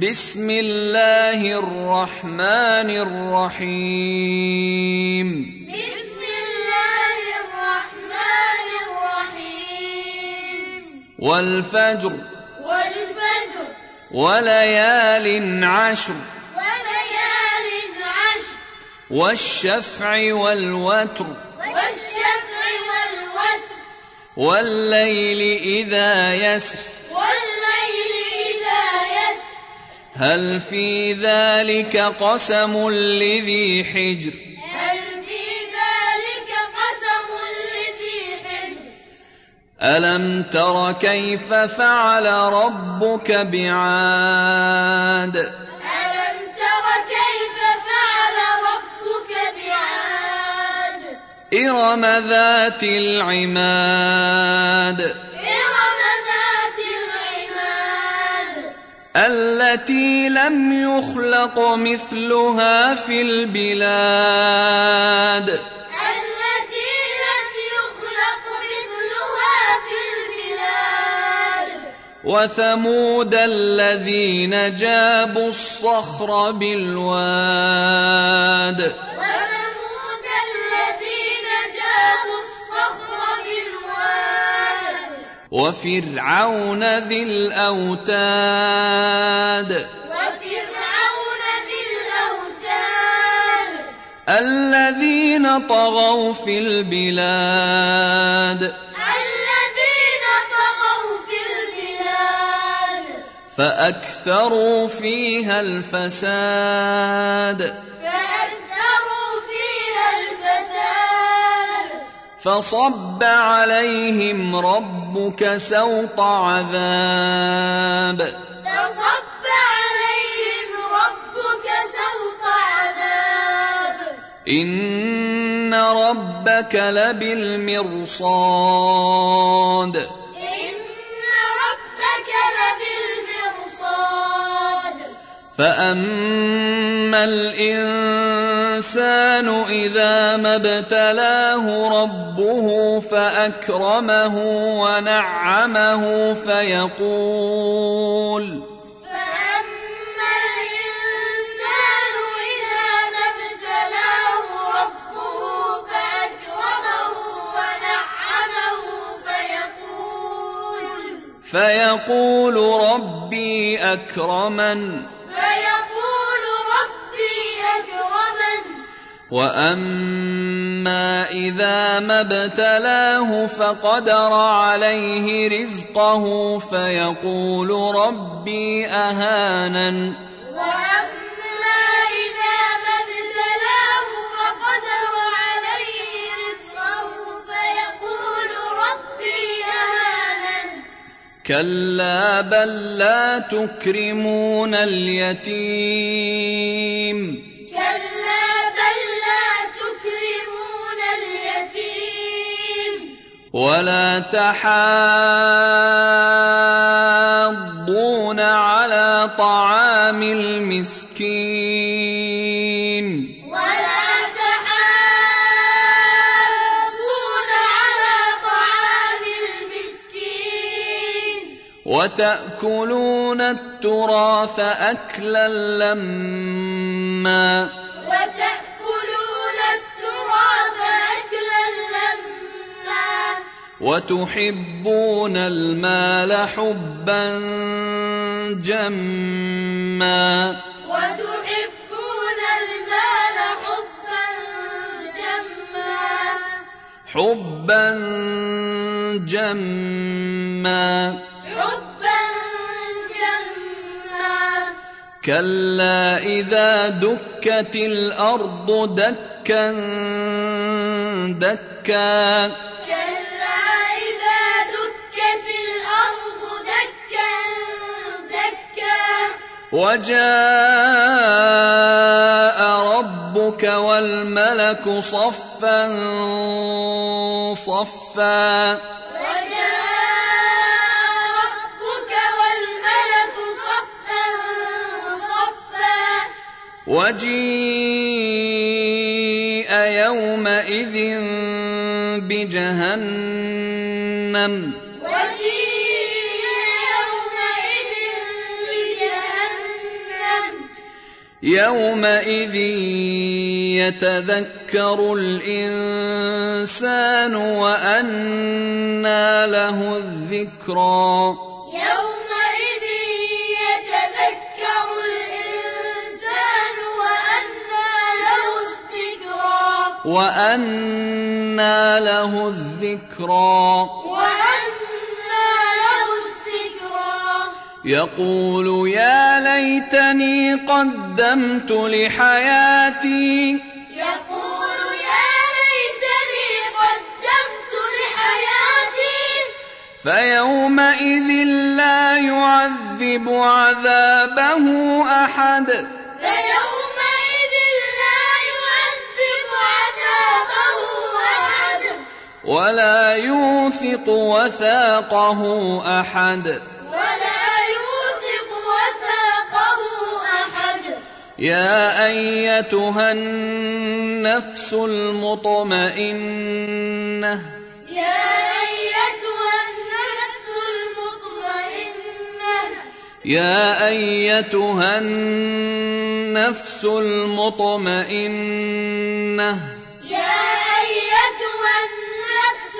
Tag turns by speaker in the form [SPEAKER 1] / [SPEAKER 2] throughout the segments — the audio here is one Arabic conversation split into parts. [SPEAKER 1] بسم الله الرحمن الرحيم
[SPEAKER 2] بسم الله الرحمن الرحيم
[SPEAKER 1] والفجر
[SPEAKER 2] والفجر
[SPEAKER 1] وليال عشر
[SPEAKER 2] وليال عشر
[SPEAKER 1] والشفع والوتر
[SPEAKER 2] والشفع والوتر
[SPEAKER 1] والليل اذا يسر
[SPEAKER 2] والليل إذا يسر
[SPEAKER 1] هل في ذلك قسم لذي حجر
[SPEAKER 2] هل في ذلك قسم لذي حجر
[SPEAKER 1] الم تر كيف فعل ربك بعاد
[SPEAKER 2] ألم تر كيف فعل ربك بعاد
[SPEAKER 1] إرم ذات العماد
[SPEAKER 2] إرم ذات العماد
[SPEAKER 1] التي لم يخلق مثلها في البلاد
[SPEAKER 2] التي لم يخلق مثلها في البلاد
[SPEAKER 1] وثمود الذين جابوا الصخر بالواد
[SPEAKER 2] وثمود الذين جابوا الصخر بالواد
[SPEAKER 1] وفرعون ذي الأوتاد
[SPEAKER 2] وفرعون ذي الأوتاد
[SPEAKER 1] الذين طغوا في البلاد
[SPEAKER 2] الذين طغوا في البلاد
[SPEAKER 1] فأكثروا فيها الفساد
[SPEAKER 2] فأكثروا فيها الفساد
[SPEAKER 1] فصب عليهم ربك سوط عذاب
[SPEAKER 2] فصب عليهم ربك سوط عذاب
[SPEAKER 1] إن ربك لبالمرصاد
[SPEAKER 2] إن ربك لبالمرصاد
[SPEAKER 1] فأما الإنسان إذا ما ابتلاه ربه فأكرمه ونعمه فيقول
[SPEAKER 2] فأما الإنسان إذا ما ابتلاه ربه فأكرمه ونعمه فيقول
[SPEAKER 1] فيقول ربي أكرمن
[SPEAKER 2] فيقول ربي أكرمن
[SPEAKER 1] وأما إذا ما ابتلاه فقدر عليه رزقه فيقول ربي أهانن
[SPEAKER 2] وأما إذا ما ابتلاه فقدر عليه رزقه فيقول ربي أهانن
[SPEAKER 1] كلا بل لا تكرمون اليتيم
[SPEAKER 2] كلا بل لا تكرمون اليتيم
[SPEAKER 1] ولا تحاضون على طعام المسكين
[SPEAKER 2] ولا تحاضون على طعام المسكين
[SPEAKER 1] وتأكلون التراث أكلا لما
[SPEAKER 2] وتأكلون التراث أكلا لما
[SPEAKER 1] وتحبون المال حبا جما
[SPEAKER 2] وتحبون المال حبا
[SPEAKER 1] حبا
[SPEAKER 2] جما
[SPEAKER 1] جما
[SPEAKER 2] حبا جما
[SPEAKER 1] كلا إذا دكت الأرض دكا دكا
[SPEAKER 2] كلا إذا دكت الأرض دكا دكا
[SPEAKER 1] وجاء ربك والملك صفا صفا
[SPEAKER 2] وجاء ربك والملك صفا صفا
[SPEAKER 1] وجيء يومئذ بجهنم
[SPEAKER 2] وجيء يومئذ بجهنم
[SPEAKER 1] يومئذ يتذكر الإنسان وأنى له الذكرى
[SPEAKER 2] يومئذ يتذكر الإنسان وأنى له
[SPEAKER 1] وأنى له
[SPEAKER 2] الذكرى
[SPEAKER 1] الذكرى
[SPEAKER 2] وأنى له الذكرى
[SPEAKER 1] يقول يا ليتني قدمت لحياتي
[SPEAKER 2] يقول يا ليتني قدمت لحياتي
[SPEAKER 1] فيومئذ لا يعذب عذابه أحد
[SPEAKER 2] فيومئذ لا يعذب عذابه أحد
[SPEAKER 1] ولا يوثق وثاقه أحد
[SPEAKER 2] ولا يوثق وثاقه أحد
[SPEAKER 1] يا أيتها النفس المطمئنة
[SPEAKER 2] يا أيتها النفس المطمئنة
[SPEAKER 1] يا أيتها النفس المطمئنة
[SPEAKER 2] يا أيتها النفس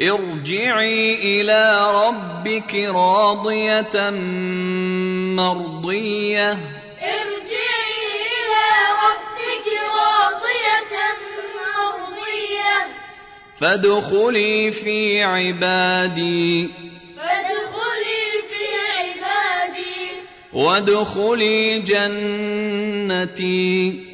[SPEAKER 2] المطمئنة
[SPEAKER 1] ارجعي إلى ربك راضية مرضية
[SPEAKER 2] ارجعي إلى ربك راضية مرضية
[SPEAKER 1] فادخلي في عبادي
[SPEAKER 2] فادخلي في عبادي
[SPEAKER 1] وادخلي جنتي